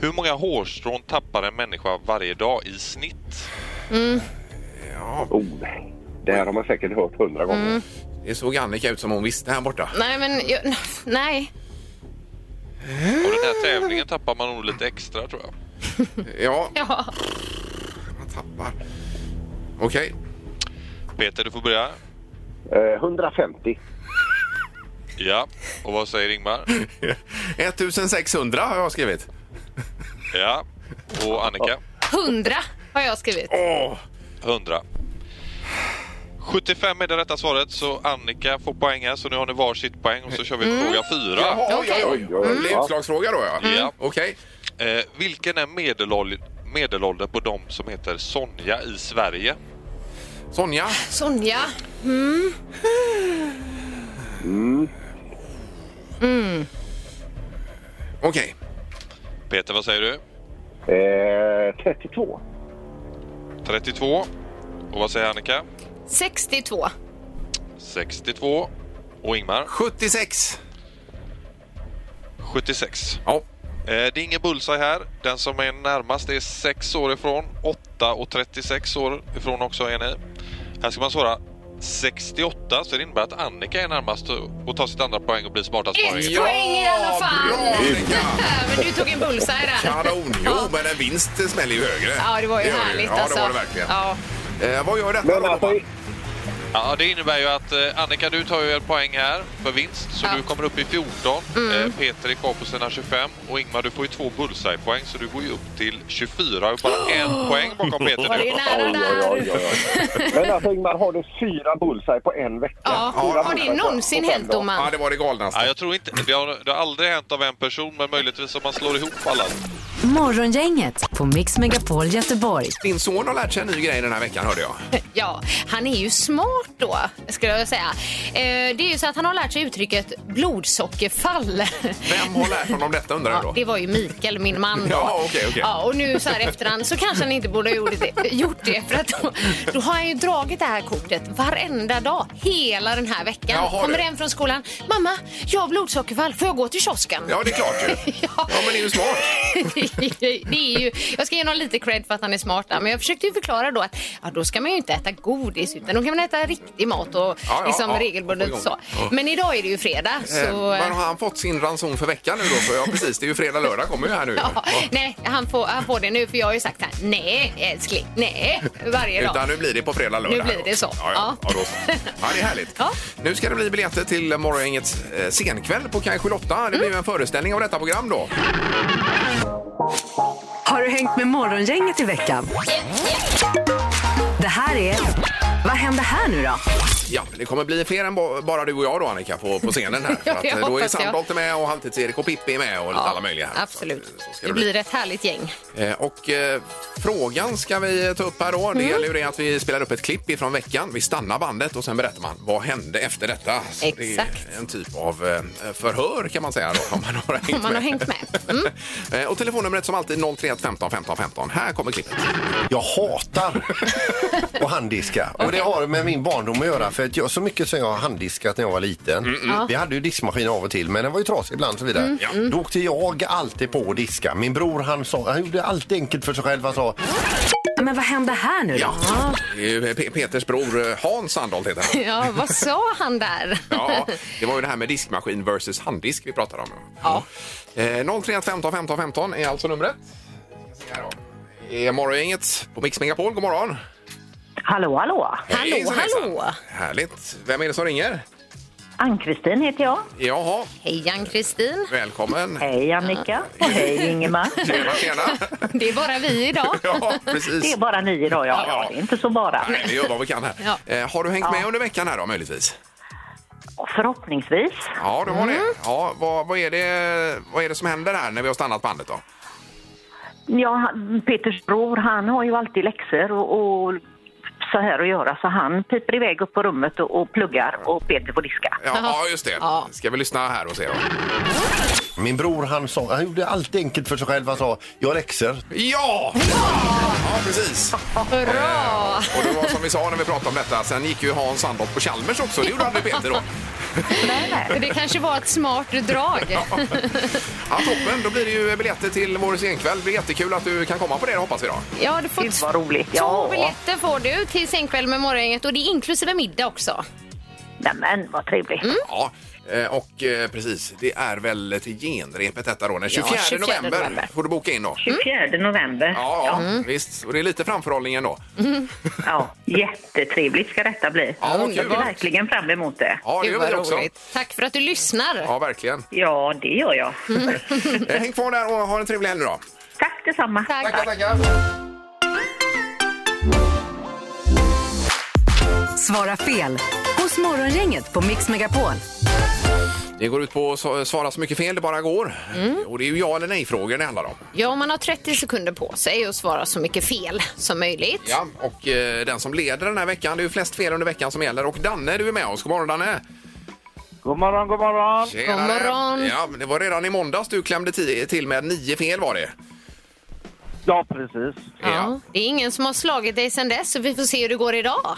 Speaker 7: Hur många hårstrån tappar en människa varje dag i snitt?
Speaker 1: Oh, det här har man säkert hört hundra gånger.
Speaker 3: Det såg Annika ut som hon visste här borta.
Speaker 4: Nej, men jag, nej.
Speaker 7: Och den här tävlingen tappar man nog lite extra tror jag.
Speaker 3: Ja,
Speaker 4: Mm. Ja.
Speaker 3: man tappar. Okej.
Speaker 7: Peter, du får börja.
Speaker 1: Eh, 150.
Speaker 7: Ja. Och vad säger Ingmar?
Speaker 3: 1600 har jag skrivit.
Speaker 7: Ja. Och Annika?
Speaker 4: 100 har jag skrivit.
Speaker 3: Åh!
Speaker 7: 100. 75 är det rätta svaret, så Annika får poäng här. Så nu har ni varsitt poäng och så kör vi fråga fyra.
Speaker 3: Jaha, oj,
Speaker 4: Okej.
Speaker 3: oj, oj. Det blir utslagsfråga då,
Speaker 4: Mm.
Speaker 3: ja.
Speaker 7: Ja.
Speaker 3: Okej.
Speaker 7: Eh, vilken är medelål- medelåldern på de som heter Sonja i Sverige?
Speaker 3: Sonja?
Speaker 4: Sonja.
Speaker 3: Okej.
Speaker 7: Peter, vad säger du?
Speaker 1: Eh, 32.
Speaker 7: 32. Och vad säger Annika?
Speaker 4: 62.
Speaker 7: 62. Och Ingmar?
Speaker 3: 76.
Speaker 7: 76.
Speaker 3: Ja.
Speaker 7: Eh, det är ingen bullseye här. Den som är närmast är 6 år ifrån. 8 och 36 år ifrån också är ni. Här ska man svara 68, så det innebär att Annika är närmast och och tar sitt andra poäng och blir smartast på
Speaker 4: Ett
Speaker 7: poängen.
Speaker 4: poäng i alla fall!
Speaker 3: Bra, Annika!
Speaker 4: Men du tog en bullseye där.
Speaker 3: Kanon! Jo, men en vinst smäller ju högre.
Speaker 4: Ja, det var ju
Speaker 3: gör
Speaker 4: härligt
Speaker 3: Ja,
Speaker 4: alltså.
Speaker 3: det var det verkligen.
Speaker 4: Ja.
Speaker 3: Eh, vad gör detta
Speaker 1: Men
Speaker 3: då?
Speaker 1: alltså,
Speaker 7: Ja, det innebär ju att eh, Annika, du tar ju en poäng här för vinst, så
Speaker 4: Ja. Mm.
Speaker 7: du kommer upp i 14. Eh, Peter är kvar på sina 25 och Ingmar, du får ju två bullseye-poäng, så du går ju upp till 24 och bara en poäng bakom Peter
Speaker 4: Var
Speaker 7: nu.
Speaker 4: det nära där?
Speaker 1: men alltså Ingmar, har du fyra bullseye på en vecka?
Speaker 4: Ja. Har
Speaker 1: Fyra
Speaker 4: det
Speaker 1: bullseye på-
Speaker 4: någonsin
Speaker 1: på fem
Speaker 4: hänt,
Speaker 1: dagar.
Speaker 3: Ja,
Speaker 4: domaren?
Speaker 3: det var det galnaste.
Speaker 7: Ja, jag tror inte, det har, det har aldrig hänt av en person, men möjligtvis om man slår ihop alla.
Speaker 2: Morgongänget på Mix Megapol Göteborg.
Speaker 3: Din son har lärt sig en ny grej den här veckan, hörde jag.
Speaker 4: Ja, han är ju smart då, skulle jag säga. Eh, Det är ju så att han har lärt sig uttrycket blodsockerfall.
Speaker 3: Vem har lärt honom detta, undrar jag
Speaker 4: Ja,
Speaker 3: då?
Speaker 4: det var ju Mikael, min man. Då.
Speaker 3: Ja, okej, okej.
Speaker 4: Ja, och nu så här efterhand så kanske han inte borde ha gjort det, gjort det för att då, då har han ju dragit det här kortet varenda dag hela den här veckan.
Speaker 3: Jaha,
Speaker 4: Kommer
Speaker 3: du.
Speaker 4: hem från skolan. Mamma, jag har blodsockerfall. Får jag gå till kiosken?
Speaker 3: Ja, det är klart ju.
Speaker 4: Ja.
Speaker 3: Ja, men det är ju smart.
Speaker 4: det är ju, jag ska ge honom lite cred för att han är smart där, men jag försökte ju förklara då att ja, då ska man ju inte äta godis utan då kan man äta riktig mat och
Speaker 3: ja,
Speaker 4: liksom
Speaker 3: ja.
Speaker 4: regelbundet
Speaker 3: Få igång.
Speaker 4: så.
Speaker 3: Ja.
Speaker 4: Men idag är det ju fredag så...
Speaker 3: Eh, men har han fått sin ranson för veckan nu då? För ja, precis, det är ju fredag, lördag kommer ju här nu.
Speaker 4: Ja, nej, han får, han får det nu för jag har ju sagt här, nej älskling, nej, varje dag.
Speaker 3: Utan nu blir det på fredag, lördag.
Speaker 4: Nu blir
Speaker 3: här
Speaker 4: det
Speaker 3: då.
Speaker 4: så.
Speaker 3: Ja, ja.
Speaker 4: Ja.
Speaker 3: Ja, då så. ja, det är härligt.
Speaker 4: Ja.
Speaker 3: Nu ska det bli biljetter till morgongängets eh, scenkväll på Kaj 8. Det blir ju
Speaker 4: Mm.
Speaker 3: en föreställning av detta program då.
Speaker 2: Har du hängt med Morgongänget i veckan? Det här är... Vad händer här nu då?
Speaker 3: Ja, det kommer bli fler än ba- bara du och jag då Annika på, på scenen här.
Speaker 4: Ja,
Speaker 3: För att,
Speaker 4: jag
Speaker 3: eh, då är
Speaker 4: hoppas jag.
Speaker 3: Sandholt med och Halvtids-Erik och Pippi är med och lite alla möjliga. Här.
Speaker 4: Absolut.
Speaker 3: Så att, eh, så ska
Speaker 4: det blir ett härligt gäng.
Speaker 3: Eh, Och eh, frågan ska vi ta upp här då.
Speaker 4: Mm.
Speaker 3: Det gäller ju det att vi spelar upp ett klipp ifrån veckan. Vi stannar bandet och sen berättar man vad hände efter detta. Så
Speaker 4: Exakt.
Speaker 3: Det är en typ av eh, förhör kan man säga då, om man har hängt
Speaker 4: Om man har
Speaker 3: med.
Speaker 4: hängt med. Mm.
Speaker 3: Eh, och telefonnumret som alltid 031 15 15 15. Här kommer klippet.
Speaker 5: Jag hatar att handdiska. Och det har med min barndom att göra. För att jag, så mycket som jag har handdiskat när jag var liten. Vi hade ju diskmaskin av och till men den var ju trasig ibland och så vidare. Då åkte jag alltid på att diska. Min bror han, sa, han gjorde allt enkelt för sig själv. Han sa
Speaker 2: Men vad händer här nu då?
Speaker 3: Ja. Det är ju Pe- Peters bror eh, Hans Sandholt heter han.
Speaker 4: Ja, vad sa han där?
Speaker 3: Ja, det var ju det här med diskmaskin versus handdisk vi pratade om.
Speaker 4: Ja.
Speaker 3: Eh, 031 15 15 15 är alltså numret. Ska se här då. Det är Morgongänget på Mix Megapol. God morgon!
Speaker 6: Hallå, hallå!
Speaker 4: Hallå,
Speaker 3: Hejsan, hejsan.
Speaker 4: hallå.
Speaker 3: Härligt. Vem är det som ringer?
Speaker 6: Ann-Kristin heter jag.
Speaker 3: Jaha,
Speaker 4: Hej Ann-Kristin.
Speaker 3: välkommen.
Speaker 6: Hej Annika och hej Ingemar.
Speaker 3: Tjena, tjena.
Speaker 4: Det är bara vi idag.
Speaker 3: Ja,
Speaker 6: Det
Speaker 3: precis.
Speaker 6: är bara ni idag, ja.
Speaker 3: Ja.
Speaker 6: ja. Det är inte så bara.
Speaker 3: Nej, vi gör vad vi kan här.
Speaker 4: Ja.
Speaker 3: Eh, har du hängt med under veckan här då möjligtvis?
Speaker 6: Förhoppningsvis.
Speaker 3: Ja, du har
Speaker 4: Mm.
Speaker 3: det. Ja, vad, vad, är det vad är det som händer här när vi har stannat bandet då?
Speaker 6: Ja, han- Peters bror, han har ju alltid läxor och, och så här att göra så han piper iväg upp på rummet och, och pluggar och Peter får diska.
Speaker 3: Ja, ja just det.
Speaker 4: Ja.
Speaker 3: Ska vi lyssna här och se då?
Speaker 5: Min bror han, sa, han gjorde allt enkelt för sig själv. Han sa jag har läxor.
Speaker 3: Ja! Ja, precis.
Speaker 4: Bra!
Speaker 3: Och det var som vi sa när vi pratade om detta, sen gick ju Hans Sandholt på Chalmers också. Det gjorde aldrig Peter då.
Speaker 6: Nej, nej.
Speaker 4: Det kanske var ett smart drag.
Speaker 3: Ja, toppen, då blir det ju biljetter till vår scenkväll. Det blir jättekul att du kan komma på det hoppas vi då.
Speaker 4: Ja, du får
Speaker 6: Gud vad roligt.
Speaker 4: två
Speaker 6: Ja.
Speaker 4: biljetter får du till Sängkväll med Morgongänget och det är inklusive middag också.
Speaker 6: Nej, men vad trevligt.
Speaker 3: Ja, eh, och eh, precis, det är väl till genrepet detta då. Den 24,
Speaker 4: 24
Speaker 3: november,
Speaker 4: november. Mm.
Speaker 3: får du boka in då.
Speaker 6: 24 november.
Speaker 3: Ja, ja visst. Och det är lite framförhållning ändå.
Speaker 6: Ja, jättetrevligt ska detta bli.
Speaker 3: Ja, vad kul.
Speaker 6: jag ser verkligen fram emot det.
Speaker 3: Ja, det
Speaker 4: Gud,
Speaker 3: gör
Speaker 4: vad
Speaker 3: vi också.
Speaker 4: roligt. Tack för att du lyssnar.
Speaker 3: Ja, verkligen.
Speaker 6: Ja, det gör jag.
Speaker 4: Mm.
Speaker 3: Eh, Häng kvar där och ha en trevlig helg nu då.
Speaker 6: Tack detsamma.
Speaker 4: Tack.
Speaker 2: Svara fel hos Morgongänget på Mix Megapol.
Speaker 3: Det går ut på att så- svara så mycket fel det bara går.
Speaker 4: Mm.
Speaker 3: Och det är ju ja eller nej-frågor det handlar om.
Speaker 4: Ja, man har 30 sekunder på sig att svara så mycket fel som möjligt.
Speaker 3: Ja, och eh, den som leder den här veckan, det är ju flest fel under veckan som gäller. Och Danne, du är med oss. God morgon Danne!
Speaker 1: God morgon, god morgon.
Speaker 3: Tjenare.
Speaker 4: God morgon.
Speaker 3: Ja, men det var redan i måndags du klämde ti- till med nio fel var det.
Speaker 1: Ja, precis.
Speaker 4: Ja. Det är ingen som har slagit dig sedan dess, så vi får se hur det går idag.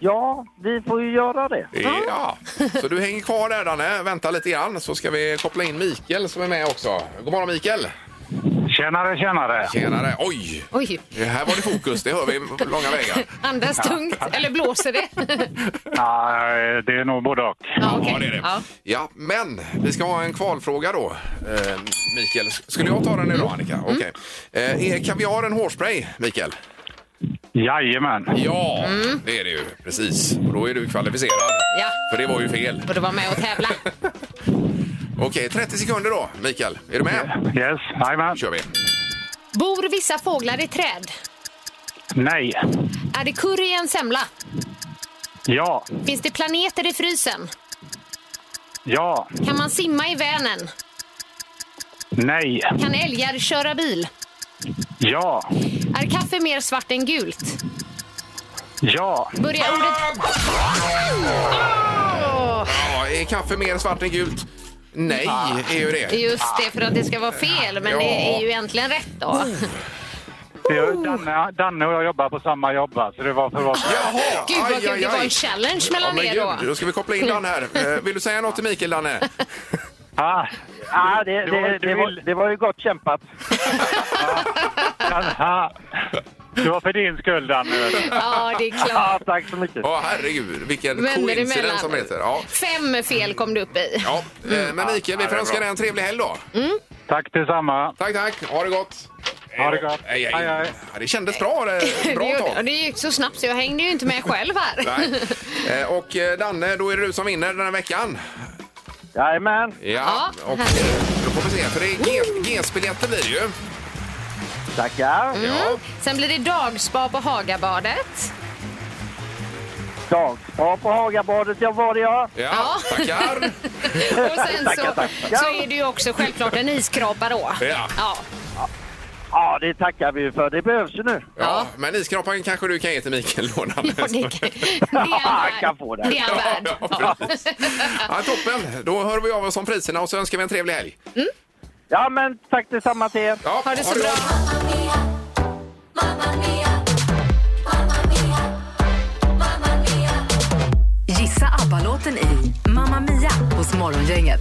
Speaker 1: Ja, vi får ju göra det.
Speaker 3: Ja. Så du hänger kvar där Danne, vänta lite grann så ska vi koppla in Mikael som är med också. God morgon Mikael!
Speaker 1: Tjenare, tjenare.
Speaker 3: Tjenare! Oj!
Speaker 4: Oj,
Speaker 3: Det Här var det fokus, det hör vi på långa vägar.
Speaker 4: andas tungt. Eller blåser det?
Speaker 1: Nej, det är nog både och.
Speaker 4: ja, okej.
Speaker 3: Ja, det är det. Ja.
Speaker 4: Ja.
Speaker 3: men vi ska ha en kvalfråga då, eh, Mikael. S- Skulle jag ta den
Speaker 4: Mm.
Speaker 3: nu då, Annika? Okej. Eh, är kaviar en hårspray, Mikael?
Speaker 1: Jajamän.
Speaker 3: Ja, det är det ju. Precis. Och då är du kvalificerad.
Speaker 4: Mm. Ja.
Speaker 3: För det var ju fel.
Speaker 4: Och du var med och tävla.
Speaker 3: Okej, 30 sekunder då, Mikael. Är du med?
Speaker 1: Yes, jajamän.
Speaker 3: kör vi.
Speaker 4: Bor vissa fåglar i träd?
Speaker 1: Nej.
Speaker 4: Är det curry i en semla?
Speaker 1: Ja.
Speaker 4: Finns det planeter i frysen?
Speaker 1: Ja.
Speaker 4: Kan man simma i Vänern?
Speaker 1: Nej.
Speaker 4: Kan älgar köra bil?
Speaker 1: Ja.
Speaker 4: Är kaffe mer svart än gult?
Speaker 1: Ja.
Speaker 4: Börjar ordet...
Speaker 3: Ja, är kaffe mer svart än gult? Nej, är ju det.
Speaker 4: Just det, för att det ska vara fel, men det är ju egentligen rätt då.
Speaker 3: Oh.
Speaker 1: Det är Danne, Danne och jag jobbar på samma jobb, va, så det var för att vara...
Speaker 3: Jaha!
Speaker 4: Gud vad
Speaker 3: aj,
Speaker 4: kul,
Speaker 3: aj,
Speaker 4: det var
Speaker 3: aj.
Speaker 4: en challenge mellan
Speaker 3: men
Speaker 4: er
Speaker 3: gud,
Speaker 4: då.
Speaker 3: Då ska vi koppla in Danne här. Eh, Vill du säga något till Mikael, Danne?
Speaker 1: Ah,
Speaker 6: Ja, det,
Speaker 1: det- det- det var-
Speaker 6: var ju gott kämpat.
Speaker 1: Danne. Det var för din skull, Danne.
Speaker 4: Ja, det är klart.
Speaker 6: tack så mycket.
Speaker 3: Ja, herregud, vilken
Speaker 4: Vänner
Speaker 3: coincidens
Speaker 4: emellan.
Speaker 3: som det heter. Ja.
Speaker 4: Fem fel kom du upp i.
Speaker 3: Ja, eh, men Mikael, vi får önska dig en trevlig helg då.
Speaker 1: Tack detsamma.
Speaker 3: Tack, tack. Ha det gott.
Speaker 1: Ha det gott.
Speaker 3: Hej, hej.
Speaker 1: Hej, hej.
Speaker 3: Ja, det kändes bra. Det,
Speaker 4: det,
Speaker 3: bra
Speaker 4: gjorde- och
Speaker 3: tag.
Speaker 4: det gick så snabbt så jag hängde ju inte med själv här.
Speaker 3: Nej. Eh, Och eh, Danne, då är det du som vinner den här veckan.
Speaker 1: Jajamän.
Speaker 3: Ja,
Speaker 4: Ja,
Speaker 3: och eh,
Speaker 4: härligt.
Speaker 3: då får vi se. För det är G- GS-biljetter blir det ju.
Speaker 1: Tackar.
Speaker 3: Ja.
Speaker 4: Sen blir det dagspa på Hagabadet.
Speaker 1: Dagspa på Hagabadet, jag var det jag.
Speaker 3: Ja,
Speaker 4: Ja.
Speaker 3: tackar.
Speaker 4: Och sen så, så är det ju också självklart en iskrapa då.
Speaker 3: Ja.
Speaker 4: Ja.
Speaker 1: Ja, det tackar vi för. Det behövs ju nu.
Speaker 3: Ja, men iskrapan kanske du kan ge till Mikael då, Danne.
Speaker 4: Ja, det, kan- det är han värd.
Speaker 1: kan få det.
Speaker 4: Det är han
Speaker 3: Ja,
Speaker 4: värd.
Speaker 3: ja, precis. ja, toppen! Då hör vi av oss om priserna och så önskar vi en trevlig helg.
Speaker 1: Ja, men tack detsamma till er.
Speaker 4: Mm.
Speaker 3: Ja,
Speaker 4: Ha det så
Speaker 3: gott.
Speaker 4: bra.
Speaker 2: Gissa ABBA-låten i Mamma Mia hos Morgongänget.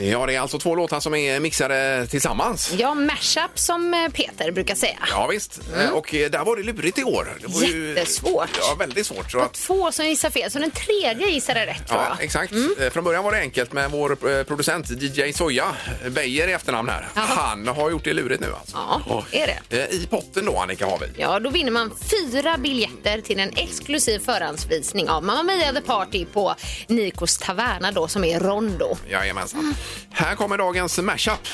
Speaker 3: Ja, det är alltså två låtar som är mixade tillsammans.
Speaker 4: Ja, mashup som eh, Peter brukar säga.
Speaker 3: Ja, visst. Eh, Och eh, där var det lurigt igår. Det var
Speaker 4: Mm. Jättesvårt.
Speaker 3: Ju, ja, väldigt svårt. Så
Speaker 4: Och
Speaker 3: att,
Speaker 4: två som gissar fel, så den tredje gissade rätt tror
Speaker 3: ja,
Speaker 4: jag. Mm.
Speaker 3: exakt. Eh, Från början var det enkelt med vår eh, producent DJ Soja, eh, Beijer i efternamn här. Han har gjort det lurigt nu alltså.
Speaker 4: Ja,
Speaker 3: Och,
Speaker 4: är det?
Speaker 3: eh, I potten då, Annika, har vi.
Speaker 4: Ja, då vinner man fyra biljetter till en exklusiv förhandsvisning av Mamma Mia The Party på Nikos Taverna då, som är Rondo.
Speaker 3: Jajamensan. Här kommer dagens mashup.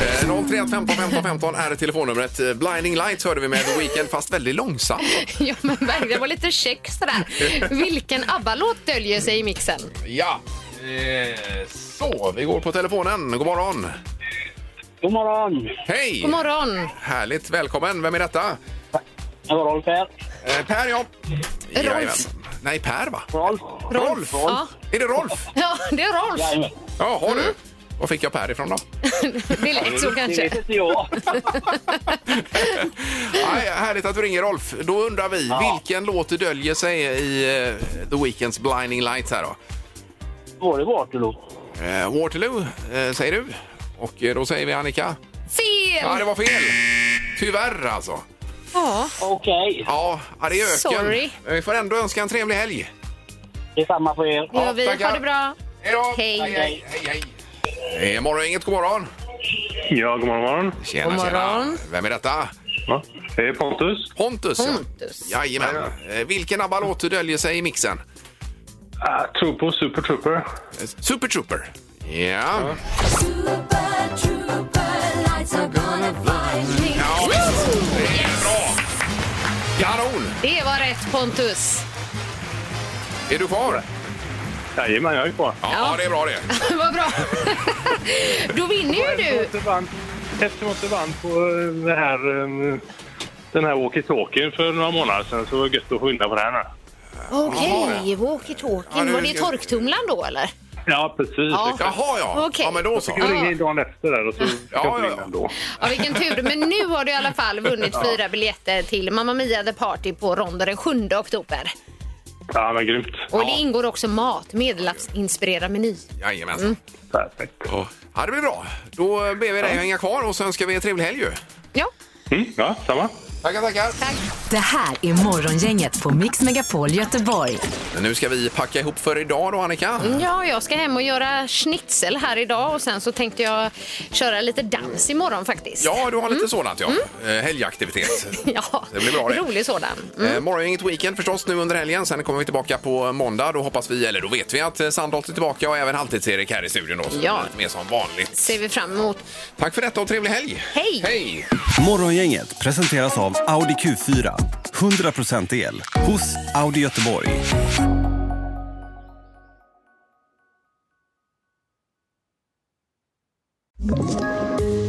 Speaker 3: Eh, 031 15 15 15 är telefonnumret. Eh, Blinding Lights hörde vi med The Weeknd, fast väldigt långsamt.
Speaker 4: Ja, men verkligen. Det var lite check sådär. Vilken ABBA-låt döljer sig i mixen?
Speaker 3: Ja. Eh, Så, vi går på telefonen. God morgon!
Speaker 1: God morgon.
Speaker 3: Hej!
Speaker 4: God morgon!
Speaker 3: Härligt, välkommen. Vem är detta?
Speaker 1: Det var Rolf här.
Speaker 3: Eh, per, ja. Jajamän. Nej, Per va?
Speaker 1: Rolf.
Speaker 3: Rolf!
Speaker 4: Ja.
Speaker 3: Är det Rolf?
Speaker 4: ja, det är Rolf.
Speaker 3: Ja, har
Speaker 4: Mm.
Speaker 3: du? Var fick jag Per ifrån då?
Speaker 4: Det lät så kanske.
Speaker 1: inte jag.
Speaker 3: Nej, härligt att du ringer Rolf. Då undrar vi, vilken låt döljer sig i eh, The Weeknds Blinding Lights här då?
Speaker 1: Var det Waterloo?
Speaker 3: Eh, Waterloo, eh, säger du. Och eh, då säger vi Annika. Ja, det
Speaker 4: Fel!
Speaker 3: var fel. Tyvärr alltså.
Speaker 4: Ja,
Speaker 1: Okej,
Speaker 3: Ja, ja, det är öken.
Speaker 4: Sorry.
Speaker 3: Men Vi får ändå önska en trevlig helg.
Speaker 1: det är samma på er.
Speaker 4: det gör vi.
Speaker 3: tackar.
Speaker 4: Ha det bra.
Speaker 3: Hej då!
Speaker 4: Hej.
Speaker 3: hej, hej, hej. Eh, morgon, inget god morgon.
Speaker 1: Ja, god morgon. morgon.
Speaker 3: Tjena,
Speaker 4: God morgon.
Speaker 3: tjena. Vem är detta?
Speaker 1: Ja, det är Pontus.
Speaker 3: Pontus.
Speaker 4: Mm.
Speaker 3: ja.
Speaker 4: Pontus.
Speaker 3: Jajamän. Eh, Vilken ABBA-låt döljer sig i mixen?
Speaker 1: Jag tror på Super Trooper.
Speaker 3: Eh, Super Trooper. Ja. Ja, visst. Det är bra. Kanon!
Speaker 4: Det var rätt Pontus.
Speaker 3: Är du kvar?
Speaker 1: Jajamän, jag är kvar.
Speaker 3: Ja, det är bra det.
Speaker 4: Vad bra. Då vinner ju du.
Speaker 1: Eftersom att du vann på eh, det här, eh, den här walkie-talkien för några månader sedan så var det gött att få vinna på det här nu.
Speaker 4: Okej, walkie-talkie. Var det torktumlaren då eller?
Speaker 1: Ja, precis.
Speaker 4: Ja.
Speaker 3: Jaha, ja.
Speaker 4: Okej.
Speaker 3: Ja, men då så.
Speaker 1: Jag ringer in dagen efter där och så ska
Speaker 3: Ja,
Speaker 1: jag få
Speaker 3: ja,
Speaker 1: in
Speaker 3: ja.
Speaker 1: den då.
Speaker 4: Ja, vilken tur. Men nu har du i alla fall vunnit fyra biljetter till Mamma Mia The Party på Ronda den 7 oktober.
Speaker 1: Ja, men grymt.
Speaker 4: Och det ingår också mat, medelhavsinspirerad meny.
Speaker 3: Jajamensan.
Speaker 4: Mm.
Speaker 1: Perfekt.
Speaker 3: Ja. Ja, det blir bra. Då ber vi dig hänga kvar och så önskar vi en trevlig helg ju.
Speaker 4: Ja,
Speaker 1: Mm, ja, samma.
Speaker 3: Tackar, tackar.
Speaker 4: tack.
Speaker 2: Det här är Morgongänget på Mix Megapol Göteborg.
Speaker 3: Nu ska vi packa ihop för idag då, Annika.
Speaker 4: Ja, jag ska hem och göra schnitzel här idag och sen så tänkte jag köra lite dans imorgon faktiskt.
Speaker 3: Ja, du har
Speaker 4: Mm.
Speaker 3: lite sådant ja. Eh, Helgaktivitet.
Speaker 4: Ja,
Speaker 3: Det blir bra det.
Speaker 4: rolig sådan. Mm.
Speaker 3: Eh, morgon är inget weekend förstås nu under helgen. Sen kommer vi tillbaka på måndag. Då hoppas vi, eller då vet vi att eh, Sandholt är tillbaka och även Halvtids-Erik här i studion då. Så
Speaker 4: Ja.
Speaker 3: det blir lite mer som vanligt.
Speaker 4: Ser vi fram emot.
Speaker 3: Tack för detta och trevlig helg!
Speaker 4: Hej!
Speaker 3: Hej!
Speaker 9: Morgongänget presenteras av Audi Q4. 100% el hos Audi Göteborg.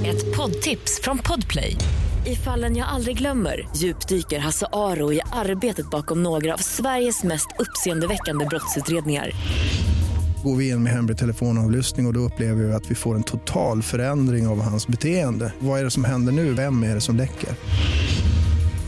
Speaker 2: Ett poddtips från Podplay. I fallen jag aldrig glömmer djupdyker Hasse Aro i arbetet bakom några av Sveriges mest uppseendeväckande brottsutredningar.
Speaker 10: Går vi in med hemlig telefonavlyssning och, och då upplever vi att vi får en total förändring av hans beteende. Vad är det som händer nu? Vem är det som läcker?